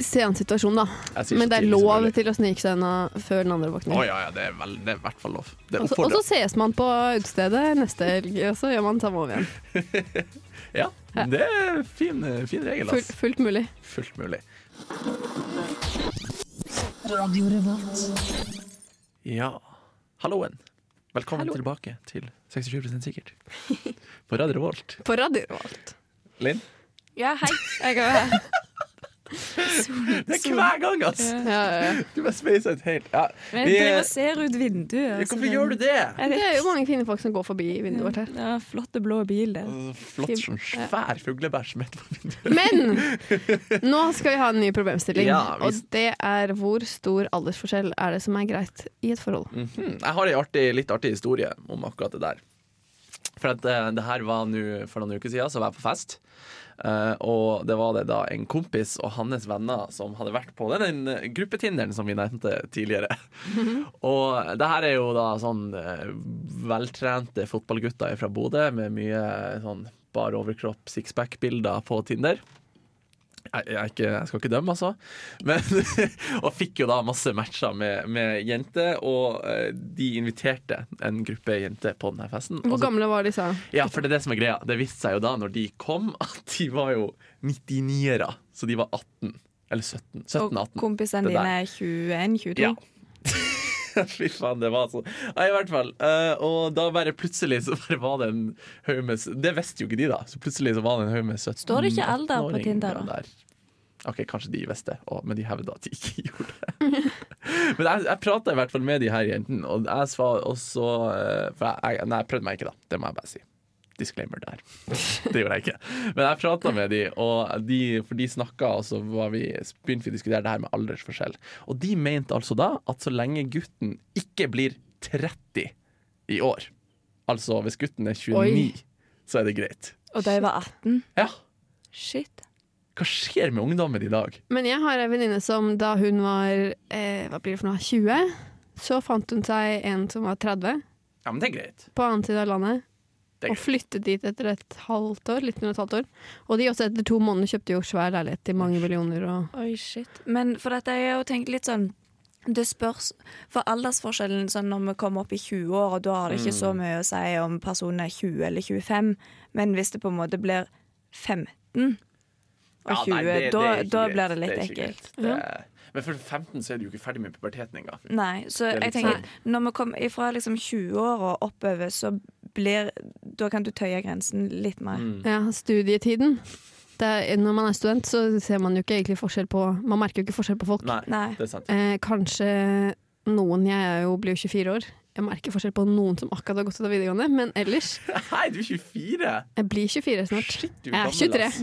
Speaker 3: se an situasjonen, da.
Speaker 2: Jeg sier så
Speaker 3: Men det er
Speaker 2: tidlig som
Speaker 3: lov
Speaker 2: mulig.
Speaker 3: til å snike seg unna før den andre
Speaker 2: Å
Speaker 3: våkner.
Speaker 2: ja, ja, det er, vel, det er i hvert fall lov. Det er
Speaker 3: Og så- og så
Speaker 2: oppfordret.
Speaker 3: ses man på utestedet neste helg, og så gjør man samme over igjen.
Speaker 2: Ja, det er en fin, fin regel,
Speaker 3: Full,
Speaker 2: ass.
Speaker 3: fullt mulig.
Speaker 2: Fullt mulig. Ja. Halloen. Velkommen
Speaker 3: Hallo.
Speaker 2: tilbake til 67 sikkert. På Radio Revolt.
Speaker 3: På radio og alt.
Speaker 2: Linn?
Speaker 4: Ja, hei. Jeg er her.
Speaker 2: Det er hver gang, ass!
Speaker 4: Ja.
Speaker 3: Ja, ja, ja.
Speaker 2: Du bare speiser ut helt. Ja.
Speaker 4: Men
Speaker 2: Vi,
Speaker 4: jeg driver
Speaker 2: eh,
Speaker 4: og ser ut vinduet. altså,
Speaker 2: Hvorfor
Speaker 4: men-
Speaker 2: gjør du det?
Speaker 4: Jeg
Speaker 3: Det
Speaker 4: vet
Speaker 3: er jo mange fine folk som går forbi vinduet vårt her.
Speaker 4: ikke. Ja, flotte blå bil der.
Speaker 2: Flott sånn svær fuglebæsj midt på vinduet.
Speaker 3: Men nå skal vi ha en ny problemstilling.
Speaker 2: Ja, vi-
Speaker 3: Og det er hvor stor aldersforskjell er det som er greit i et forhold?
Speaker 2: Mhm. Jeg har en artig, litt artig historie om akkurat det der. For at, eh, det her var nå for noen uker siden, så var jeg på fest. Eh, og det var det da en kompis og hans venner som hadde vært på den eh, gruppetinderen som vi nevnte tidligere. og det her er jo da sånn eh, veltrente fotballgutter fra eh, Bodø med mye sånn bar overkropp, sixpack-bilder på Tinder. jeg, jeg, er ikke, jeg skal ikke dømme, altså. Men, og fikk jo da masse matcher med, med jenter, og eh, de inviterte en gruppe jenter på denne festen.
Speaker 3: Hvor
Speaker 2: Og så-
Speaker 3: gamle var disse?
Speaker 2: Ja, for det er det som er greia. Det viste seg jo da, når de kom, at de var jo 99-ere. Så de var 18. Eller 17.
Speaker 4: Og
Speaker 2: 17-18.
Speaker 4: kompisene
Speaker 2: Det der.
Speaker 4: dine er 21-22.
Speaker 2: Ja. Fy faen, det var sånn. Nei, i hvert fall. eh, og da bare plutselig så bare var det en haug med s- Det visste jo ikke de, da. Så plutselig så var det en haug med 17
Speaker 4: Står det ikke alder på
Speaker 2: 18-åringer
Speaker 4: Tinder, da?
Speaker 2: der. OK, kanskje de visste det, og- men de hevda at de ikke gjorde det. men jeg, jeg prata i hvert fall med de her jentene, og jeg svar også eh, For jeg, jeg, nei, jeg prøvde meg ikke, da. Det må jeg bare si. Disclaimer der. Det gjorde jeg ikke. Men jeg prata med de, og de, for de snakka, og så var vi, begynte vi å diskutere det her med aldersforskjell. Og de mente altså da at så lenge gutten ikke blir 30 i år, altså hvis gutten er 29,
Speaker 3: Oi.
Speaker 2: så er det greit.
Speaker 4: Og de var 18.
Speaker 2: Ja,
Speaker 4: Shit.
Speaker 2: hva skjer med ungdommen i dag?
Speaker 3: Men jeg har en venninne som da hun var eh, hva blir det for noe, 20, så fant hun seg en som var 30,
Speaker 2: Ja, men det er greit.
Speaker 3: på annen side av landet.
Speaker 2: Det er
Speaker 3: Og flyttet dit etter et halvt år, litt under et halvt år. Og de også etter to måneder kjøpte jo svær leilighet til mange millioner. Og
Speaker 4: Oi, shit. Men for dette har jeg jo tenkt litt sånn Det spørs For aldersforskjellen sånn når vi kommer opp i 20-åra, da har det ikke så mye å si om personen er 20 eller 25, men hvis det på en måte blir 15 og 20, da, da blir det litt ekkelt.
Speaker 2: Men for 15 så er du jo ikke ferdig med puberteten engang.
Speaker 4: Nei, så
Speaker 2: Det er
Speaker 4: jeg
Speaker 2: litt
Speaker 4: tenker
Speaker 2: sånn.
Speaker 4: Når vi kommer ifra liksom 20-åra og oppover, så blir Da kan du tøye grensen litt mer.
Speaker 2: Mm.
Speaker 3: ja, studietiden. Det er, når man er student, så ser man jo ikke egentlig forskjell på Man merker jo ikke forskjell på folk.
Speaker 2: Nei,
Speaker 4: Nei.
Speaker 2: det er sant.
Speaker 3: Eh, kanskje noen Jeg er jo, blir jo 24 år. Jeg merker forskjell på noen som akkurat har gått ut av videregående, men ellers
Speaker 2: Nei, du er 24!
Speaker 3: Jeg blir 24 snart.
Speaker 2: Shit, du
Speaker 3: Jeg er 23.
Speaker 2: ass.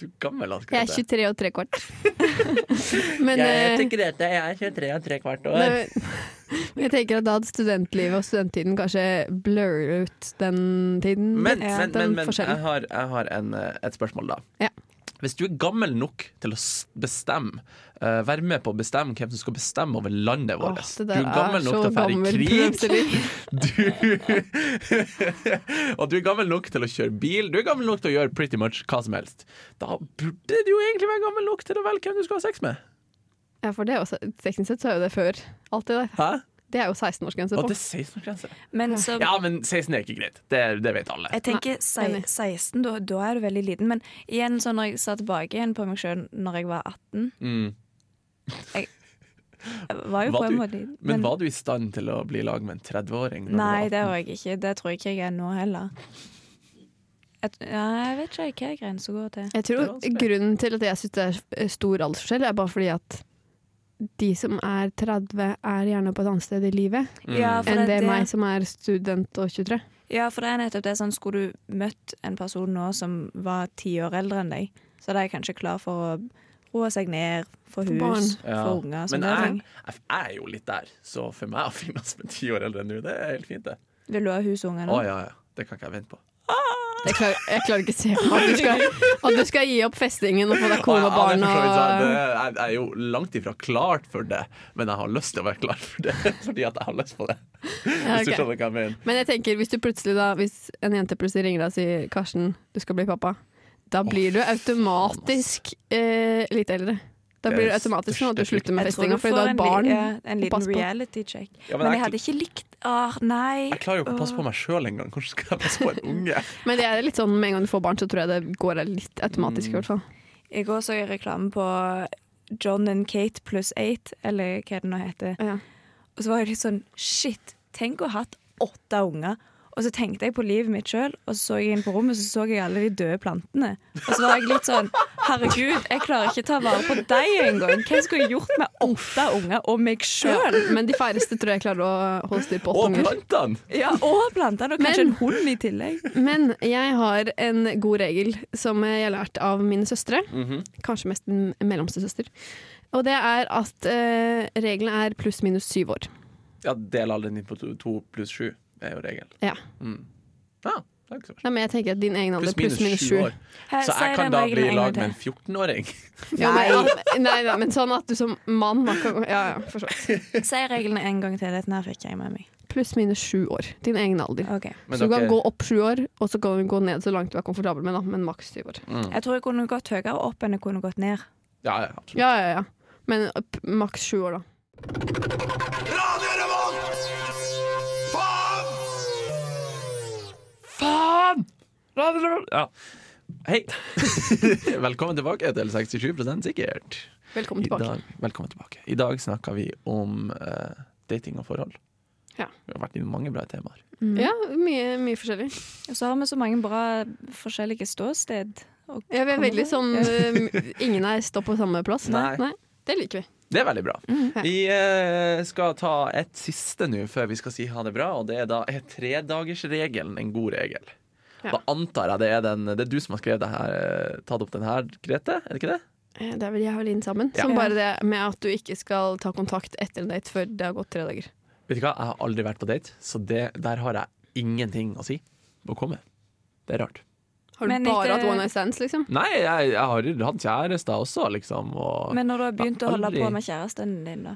Speaker 2: Du er gammel, ass.
Speaker 3: Jeg er
Speaker 2: Grete.
Speaker 3: 23 og tre kvart. Men eh,
Speaker 2: Grete jeg er 23 og tre kvart
Speaker 3: Nei, men jeg tenker at da hadde studentlivet og studenttiden kanskje blurrer ut den tiden.
Speaker 2: Men,
Speaker 3: den,
Speaker 2: men,
Speaker 3: den
Speaker 2: men, men jeg
Speaker 3: forskjellen.
Speaker 2: har, jeg har en, eh, et spørsmål, da.
Speaker 3: Ja.
Speaker 2: Hvis du er gammel nok til å s- bestemme, eh, være med på å bestemme hvem som skal bestemme over landet
Speaker 3: Åh,
Speaker 2: vårt Du
Speaker 3: det der
Speaker 2: er gammel
Speaker 3: er
Speaker 2: nok
Speaker 3: så
Speaker 2: til å fære
Speaker 3: gammel
Speaker 2: i krig.
Speaker 3: problemstilling.
Speaker 2: Du Og du er gammel nok til å kjøre bil. Du er gammel nok til å gjøre pretty much hva som helst. Da burde du jo egentlig være gammel nok til å velge hvem du skal ha sex med.
Speaker 3: Ja, for det er også, teknisk sett så er jo det før. Alt det der.
Speaker 2: Hæ?
Speaker 3: Det er jo 16-årsgrense
Speaker 2: Og
Speaker 3: på.
Speaker 2: det er 16-årsgrense.
Speaker 4: Men så
Speaker 2: Ja, men 16 er ikke greit. Det, det vet alle.
Speaker 4: Jeg tenker sei-
Speaker 3: enig.
Speaker 4: 16, da, da er du veldig liten. Men igjen, så når jeg sa tilbake igjen på meg sjøl når jeg var 18
Speaker 2: Mm.
Speaker 4: Jeg, jeg var jo
Speaker 2: Var
Speaker 4: på en
Speaker 2: du-
Speaker 4: måte liten.
Speaker 2: Men var du i stand til å bli i lag med en 30-åring? når du
Speaker 4: Nei,
Speaker 2: var
Speaker 4: det
Speaker 2: 18?
Speaker 4: var jeg ikke. Det tror jeg ikke jeg er nå heller. Jeg, t- ja, jeg vet ikke hva grensa går til.
Speaker 3: Jeg
Speaker 2: Det er
Speaker 3: tror
Speaker 2: vanskelig.
Speaker 3: grunnen til at jeg syns det er eh, stor aldersforskjell, er bare fordi at de som er 30, er gjerne på et annet sted i livet
Speaker 2: Mm.
Speaker 4: Ja,
Speaker 3: enn det
Speaker 4: det-
Speaker 3: er meg som er student og 23.
Speaker 4: Ja, for det er nettopp det sånn, Skulle du møtt en person nå som var ti år eldre enn deg, så er de kanskje klar for å roe seg ned, få hus,
Speaker 3: barn.
Speaker 4: få unger.
Speaker 2: Men
Speaker 4: sånne
Speaker 2: jeg,
Speaker 4: ting.
Speaker 2: jeg, jeg er jo litt der, så for meg å finne oss med ti år eldre enn du, det er helt fint, det.
Speaker 4: Vil du ha hus og unger
Speaker 2: Å
Speaker 4: nå?
Speaker 2: ja, ja. Det kan ikke jeg vente på.
Speaker 3: Jeg klarer, jeg klarer ikke å se for meg at du skal, at du skal gi opp festingen og få deg kone og
Speaker 2: Å, ja,
Speaker 3: barn.
Speaker 2: det er for så vidt sant.
Speaker 3: Og,
Speaker 2: Det- Jeg jeg er jo langt ifra klart for det, men jeg har lyst til å være klar for det fordi at jeg har lyst på det. Hvis du
Speaker 3: ok.
Speaker 2: skjønner hva jeg mener.
Speaker 3: Men jeg tenker, hvis du plutselig da Hvis en jente plutselig ringer deg og sier 'Karsten, du skal bli pappa', da blir du automatisk eh, litt eldre. Da
Speaker 2: Det er
Speaker 3: blir du
Speaker 2: det
Speaker 3: automatisk sånn at du
Speaker 2: største
Speaker 3: slutter med
Speaker 4: Jeg tror
Speaker 3: festinga
Speaker 4: du
Speaker 3: fordi du
Speaker 4: får
Speaker 3: har
Speaker 4: en
Speaker 3: et
Speaker 4: li-
Speaker 3: barn.
Speaker 4: ja, en
Speaker 3: passe
Speaker 4: liten
Speaker 3: på.
Speaker 4: reality check.
Speaker 2: Ja, men
Speaker 4: men,
Speaker 2: jeg
Speaker 4: jeg hadde ikke likt Åh, nei.
Speaker 2: Jeg klarer jo ikke å passe på meg sjøl engang. Hvordan skal jeg passe på en unge?
Speaker 3: Men det er litt sånn med en gang du får barn, så tror jeg det går litt automatisk, i hvert fall.
Speaker 4: I går så jeg reklame på John and Kate pluss eight, eller hva det nå heter.
Speaker 3: Ja.
Speaker 4: Og så var jeg litt sånn Shit, tenk å ha hatt åtte unger. Og så tenkte jeg på livet mitt sjøl, og så så jeg inn på rommet, så så jeg alle de døde plantene. Og så var jeg litt sånn Herregud, jeg klarer ikke ta vare på deg engang. Hva skulle jeg gjort med åtte unger og meg sjøl?
Speaker 3: Men de færreste tror jeg klarer å holde styr på åtte
Speaker 2: Og
Speaker 3: unger.
Speaker 2: plantene!
Speaker 4: Ja, og plantene, og kanskje
Speaker 3: Men-
Speaker 4: en hund i tillegg.
Speaker 3: Men jeg har en god regel som jeg har lært av mine søstre.
Speaker 2: Mhm.
Speaker 3: Kanskje mest min mellomste søster. Og det er at eh, regelen er pluss minus syv år.
Speaker 2: Ja, del alderen din på to- to pluss sju, er jo regelen.
Speaker 3: Ja.
Speaker 2: Mm. Ja, det er ikke så verst.
Speaker 3: Nei, men jeg tenker at din egen alder
Speaker 2: Pluss minus sju år.
Speaker 4: Her,
Speaker 2: Så jeg
Speaker 4: si
Speaker 2: kan
Speaker 4: Eh, den
Speaker 2: da
Speaker 4: regelen
Speaker 2: bli i
Speaker 4: en
Speaker 2: lag med
Speaker 4: gang
Speaker 2: en 14-åring?
Speaker 3: Ja, men, nei, nei, men sånn at du som mann da kan- Ja, ja, for så vidt.
Speaker 4: til. Si reglene en gang til. Dette her fikk jeg med meg.
Speaker 3: pluss-minus sju år. Din egen alder.
Speaker 4: Ok.
Speaker 2: Men
Speaker 3: så du kan
Speaker 2: dere-
Speaker 3: gå opp sju år, og så kan du gå ned så langt du er komfortabel med, da, men maks syv år.
Speaker 2: Mm.
Speaker 4: Jeg tror jeg kunne gått høyere opp enn jeg kunne gått ned.
Speaker 2: Ja, ja, absolutt.
Speaker 3: Ja, ja, ja. Men opp- maks sju år, da.
Speaker 2: Faen! Ja. Hei! Velkommen tilbake til 67 sikkert.
Speaker 3: Velkommen
Speaker 2: I
Speaker 3: tilbake.
Speaker 2: dag, velkommen tilbake. I dag snakker vi om eh, dating og forhold.
Speaker 3: Ja.
Speaker 2: Vi har vært innom mange bra temaer.
Speaker 3: Ja, mye, mye forskjellig.
Speaker 4: Og så har vi så mange bra forskjellige ståsted. Og
Speaker 3: Ja, vi er
Speaker 4: Kommer
Speaker 3: veldig
Speaker 4: det?
Speaker 3: sånn eh, Ingen er står på samme plass.
Speaker 2: Nei.
Speaker 3: Det liker vi.
Speaker 2: Det er veldig bra.
Speaker 4: Mm,
Speaker 3: ja.
Speaker 2: Vi eh, skal ta et siste nå før vi skal si ha det bra, og det er da er tredagersregelen en god regel.
Speaker 3: Ja.
Speaker 2: Da antar jeg det er den Det er du som har skrevet det her, eh, tatt opp den her, Grete? Er det ikke det?
Speaker 3: Eh, Det er vel jeg og Linn sammen.
Speaker 2: Ja.
Speaker 3: Som bare det med at du ikke skal ta kontakt etter en date før det har gått tre dager.
Speaker 2: Vet du hva, jeg har aldri vært på date, så det, der har jeg ingenting å si. Å komme. Det er rart.
Speaker 3: Har du
Speaker 4: Men
Speaker 3: bare
Speaker 4: ikke-
Speaker 3: hatt one night stands, liksom?
Speaker 2: Nei, jeg, jeg har jo hatt kjærester også, liksom. Og
Speaker 4: Men når du har begynt å holde
Speaker 2: Aldri.
Speaker 4: på med kjæresten din, da?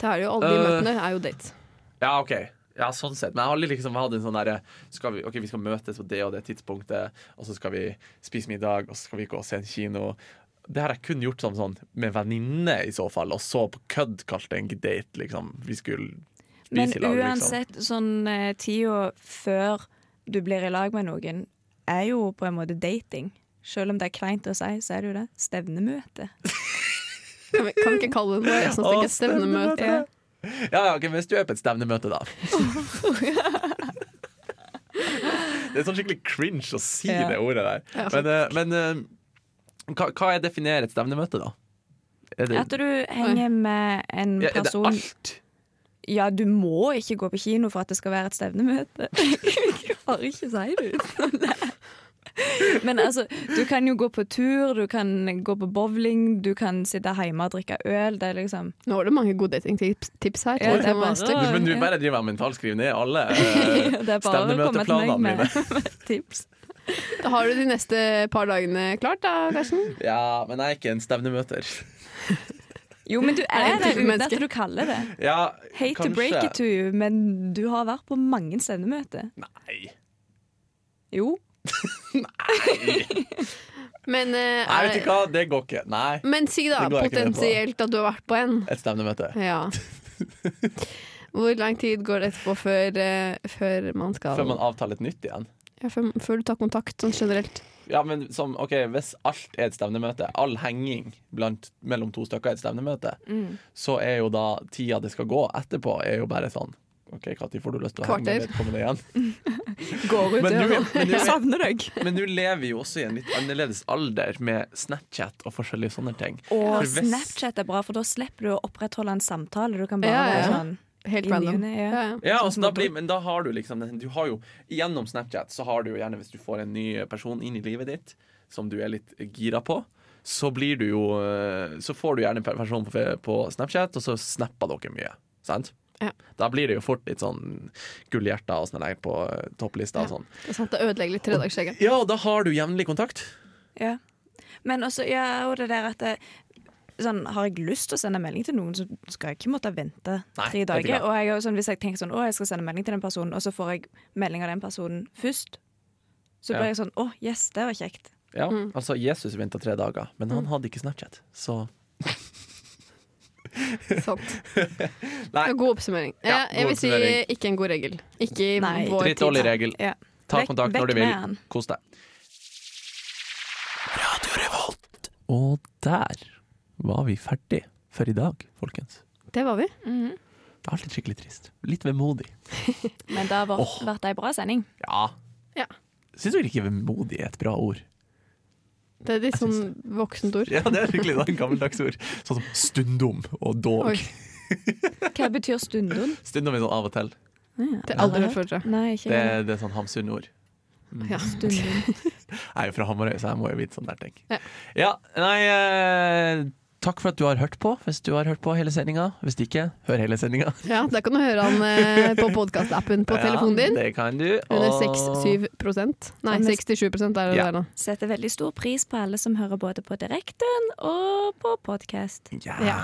Speaker 3: Det er jo alle de
Speaker 2: Øh.
Speaker 3: møtene er jo dates.
Speaker 2: Ja, ok ja, sånn sett. Men jeg har aldri liksom hatt en sånn derre skal vi, OK, vi skal møtes på det og det tidspunktet, og så skal vi spise middag, og så skal vi gå og se en kino. Det har jeg kun gjort som sånn med venninne, i så fall, og så på kødd kalt det en date, liksom. Vi skulle
Speaker 4: Men
Speaker 2: spise i lag, liksom.
Speaker 4: uansett, sånn eh, tida før du blir i lag med noen, er jo på en måte dating. Selv om det er kleint å si, så er det jo det. Stevnemøte.
Speaker 3: Kan vi, kan vi ikke kalle det noe jeg synes
Speaker 2: Å,
Speaker 3: det ikke er stevnemøte?
Speaker 2: stevnemøte. Ja, ja, ok, men hvis du er på et stevnemøte, da. det er sånn skikkelig cringe å si
Speaker 4: Ja.
Speaker 2: det ordet der.
Speaker 3: Ja.
Speaker 2: Men, eh, men eh, hva, hva er definerer et stevnemøte, da? Er
Speaker 4: At du henger med en
Speaker 2: ja, er det
Speaker 4: person
Speaker 2: alt?
Speaker 4: Ja, du må ikke gå på kino for at det skal være et stevnemøte. Jeg klarer ikke å si det uten å le. Men altså, du kan jo gå på tur, du kan gå på bowling, du kan sitte hjemme og drikke øl. Det er liksom
Speaker 3: Nå var det mange gode datingtips tips her.
Speaker 4: Ja,
Speaker 3: Oi,
Speaker 4: det
Speaker 3: nå
Speaker 4: er
Speaker 3: må
Speaker 4: bare-
Speaker 3: jeg støtte.
Speaker 2: Men du bare driver og mentalskriver ned alle eh,
Speaker 4: Det er bare å komme til meg
Speaker 2: stevnemøteplanene
Speaker 4: med,
Speaker 2: mine.
Speaker 4: med tips.
Speaker 3: Da har du de neste par dagene klart, da, Karsten?
Speaker 2: Ja, men jeg er ikke en stevnemøter.
Speaker 4: Jo, men du
Speaker 3: Er det
Speaker 4: er
Speaker 3: en
Speaker 4: det
Speaker 3: type
Speaker 4: uten
Speaker 3: menneske?
Speaker 4: at du kaller det.
Speaker 2: Ja,
Speaker 4: Hate
Speaker 2: kanskje.
Speaker 4: to break it to you, men du har vært på mange stevnemøter.
Speaker 2: Nei.
Speaker 4: Jo.
Speaker 3: Men, eh,
Speaker 2: Nei, vet
Speaker 3: er-
Speaker 2: du hva, det går ikke. Nei.
Speaker 3: men si da
Speaker 2: Det går jeg ikke med på.
Speaker 3: potensielt at du har vært på en.
Speaker 2: Et stevnemøte.
Speaker 3: Ja. Hvor lang tid går det etterpå før, eh, før man skal
Speaker 2: Før man avtaler et nytt igjen.
Speaker 3: ja, før, før du tar kontakt sånn generelt?
Speaker 2: Ja, men som, ok, Hvis alt er et stevnemøte, all henging blant, mellom to stykker er et stevnemøte, så er jo da tida det skal gå etterpå, er jo bare sånn OK, når får du lyst til å henge med
Speaker 3: Kvarter.
Speaker 2: vedkommende igjen?
Speaker 4: Går ut
Speaker 2: Men du-
Speaker 4: døra.
Speaker 2: men du-
Speaker 4: Jeg savner deg.
Speaker 2: Men nå lever vi jo også i en litt annerledes alder med Snapchat og forskjellige sånne ting.
Speaker 4: Og
Speaker 2: For hvis-
Speaker 4: Snapchat er bra, for da slipper du å opprettholde en samtale. Du kan bare
Speaker 3: Ja, ja, ja.
Speaker 4: være sånn
Speaker 3: Helt
Speaker 4: I
Speaker 3: random.
Speaker 4: nyene, ja.
Speaker 2: Ja,
Speaker 4: Sånn
Speaker 2: altså,
Speaker 4: som
Speaker 2: da
Speaker 4: at du-
Speaker 2: blir, men da har du liksom den- du har jo, Gjennom Snapchat så har du jo gjerne, hvis du får en ny person inn i livet ditt som du er litt gira på, så blir du jo eh, Så får du gjerne en person på, fe- på Snapchat, og så snapper dere mye. Sant?
Speaker 3: Ja.
Speaker 2: Da blir det jo fort litt sånn gullhjerter og sånn der på eh, topplista og sånn.
Speaker 3: Det er sant, det ødelegger litt tredagsregelen.
Speaker 2: Ja, og da har du jevnlig kontakt.
Speaker 4: Ja. Men også, ja, og det der at det, sånn, Har jeg lyst til å sende melding til noen, så skal jeg ikke måtte vente
Speaker 2: Nei,
Speaker 4: tre
Speaker 2: det er ikke
Speaker 4: dager.
Speaker 2: bra.
Speaker 4: Og jeg er jo sånn, hvis jeg tenker sånn, å, jeg skal sende melding til den personen, og så får jeg melding av den personen først, så
Speaker 2: Ja.
Speaker 4: blir jeg sånn Å, yes, det var kjekt.
Speaker 2: Ja, altså Jesus venta tre dager, men han hadde ikke Snapchat, så
Speaker 3: Sant.
Speaker 2: Nei.
Speaker 3: God oppsummering. Eh,
Speaker 2: Ja,
Speaker 3: jeg, jeg vil
Speaker 2: god
Speaker 3: si
Speaker 2: oppsummering.
Speaker 3: ikke en god regel. Ikke i
Speaker 4: Nei.
Speaker 3: vår tid.
Speaker 2: Dritdårlig regel.
Speaker 4: Ja.
Speaker 2: Ta
Speaker 4: Vekk-
Speaker 2: kontakt når
Speaker 4: vekk
Speaker 2: du vil.
Speaker 4: med han.
Speaker 2: Kos deg. Og der var vi ferdig for i dag, folkens.
Speaker 3: Det var vi.
Speaker 2: Det er alltid skikkelig trist. Litt vemodig.
Speaker 4: Men det har vært, vært ei bra sending.
Speaker 2: Ja.
Speaker 3: Ja.
Speaker 2: Syns dere ikke vemodig er et bra ord?
Speaker 3: Det er litt sånn voksent ord.
Speaker 2: Ja, det er skikkelig et gammeldags ord. Sånn som stundom og dog.
Speaker 3: Oi,
Speaker 4: Hva betyr stundum?
Speaker 2: Stundom er sånn av og til.
Speaker 3: det har jeg aldri hørt før, tror jeg.
Speaker 4: Nei, ikke
Speaker 2: Det,
Speaker 4: det.
Speaker 2: det er sånn Hamsun-ord. Mm.
Speaker 3: Ja.
Speaker 4: Stundum.
Speaker 2: sånn Jeg er jo fra Hamarøy, så jeg må jo vite sånne der ting.
Speaker 3: Ja.
Speaker 2: Ja, nei eh, Takk for at du har hørt på, hvis du har hørt på hele sendinga. Hvis ikke, hør hele sendinga.
Speaker 3: Ja, der kan du høre han eh, på podkastappen på telefonen din.
Speaker 2: Ja, det kan du.
Speaker 3: Under
Speaker 2: og-
Speaker 3: 6-7 prosent. Nei,
Speaker 4: Og nest-
Speaker 3: 67 prosent er det
Speaker 2: Ja.
Speaker 3: der nå.
Speaker 4: Setter veldig stor pris på alle som hører både på direkten og på podkast.
Speaker 2: Ja.
Speaker 3: Ja.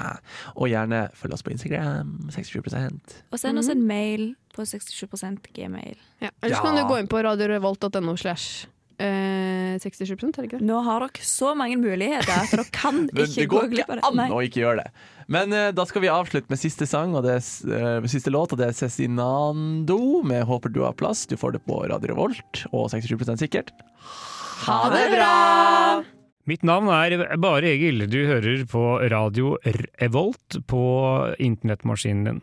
Speaker 2: Og gjerne følg oss på Instagram. 67
Speaker 4: Og send
Speaker 3: Mhm.
Speaker 4: oss en mail på 67 gmail.
Speaker 3: Ja. Ellers
Speaker 2: Ja.
Speaker 3: kan du gå inn på radiorevolt.no slash eh, 67 prosent, er det ikke det?
Speaker 4: Nå har dere så mange muligheter at dere kan
Speaker 2: Det,
Speaker 4: ikke
Speaker 2: det
Speaker 4: gå
Speaker 2: går
Speaker 4: glipp
Speaker 2: ikke
Speaker 4: av det.
Speaker 2: an å ikke gjøre det. Men eh, da skal vi avslutte med siste sang og det er, s- eh, siste låt, og det er Cezinando med 'Håper du har plass'. Du får det på Radio Revolt, og 67 sikkert.
Speaker 3: Ha det bra!
Speaker 6: Mitt navn er Bare Egil. Du hører på Radio Revolt på internettmaskinen din.